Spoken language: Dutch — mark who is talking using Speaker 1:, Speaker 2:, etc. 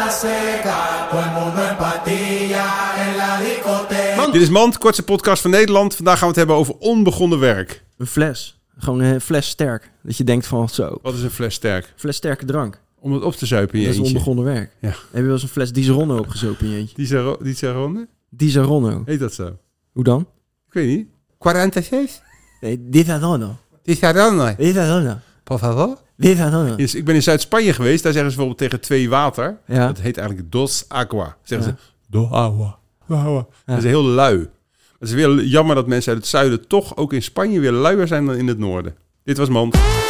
Speaker 1: seca, todo el mundo en patilla en la discoteca.
Speaker 2: Dit is Mand, kortste podcast van Nederland. Vandaag gaan we het hebben over onbegonnen werk.
Speaker 3: Een fles. Gewoon een fles sterk. Dat je denkt van zo,
Speaker 2: Wat is een fles sterk?
Speaker 3: fles sterke drank.
Speaker 2: Om het op te zuipen in je
Speaker 3: Dat is
Speaker 2: eentje.
Speaker 3: onbegonnen werk.
Speaker 2: Ja.
Speaker 3: Heb je wel eens een fles Dizeronno opgezopen in je eentje?
Speaker 2: Die zijn die zijn ronde?
Speaker 3: Dizeronno.
Speaker 2: Heet dat zo?
Speaker 3: Hoe dan?
Speaker 2: Ik weet niet. 46?
Speaker 3: Nee, Dizeronno.
Speaker 2: Die zijn ronde.
Speaker 3: Dizeronno.
Speaker 2: Por favor?
Speaker 3: Dizeronno.
Speaker 2: Dus ik ben in Zuid-Spanje geweest. Daar zeggen ze bijvoorbeeld tegen twee water.
Speaker 3: Ja.
Speaker 2: Dat heet eigenlijk dos aqua. Zeggen
Speaker 3: Ja.
Speaker 2: ze do agua. Do agua. Dat is heel lui. Het is weer jammer dat mensen uit het zuiden toch ook in Spanje weer luier zijn dan in het noorden. Dit was Mand.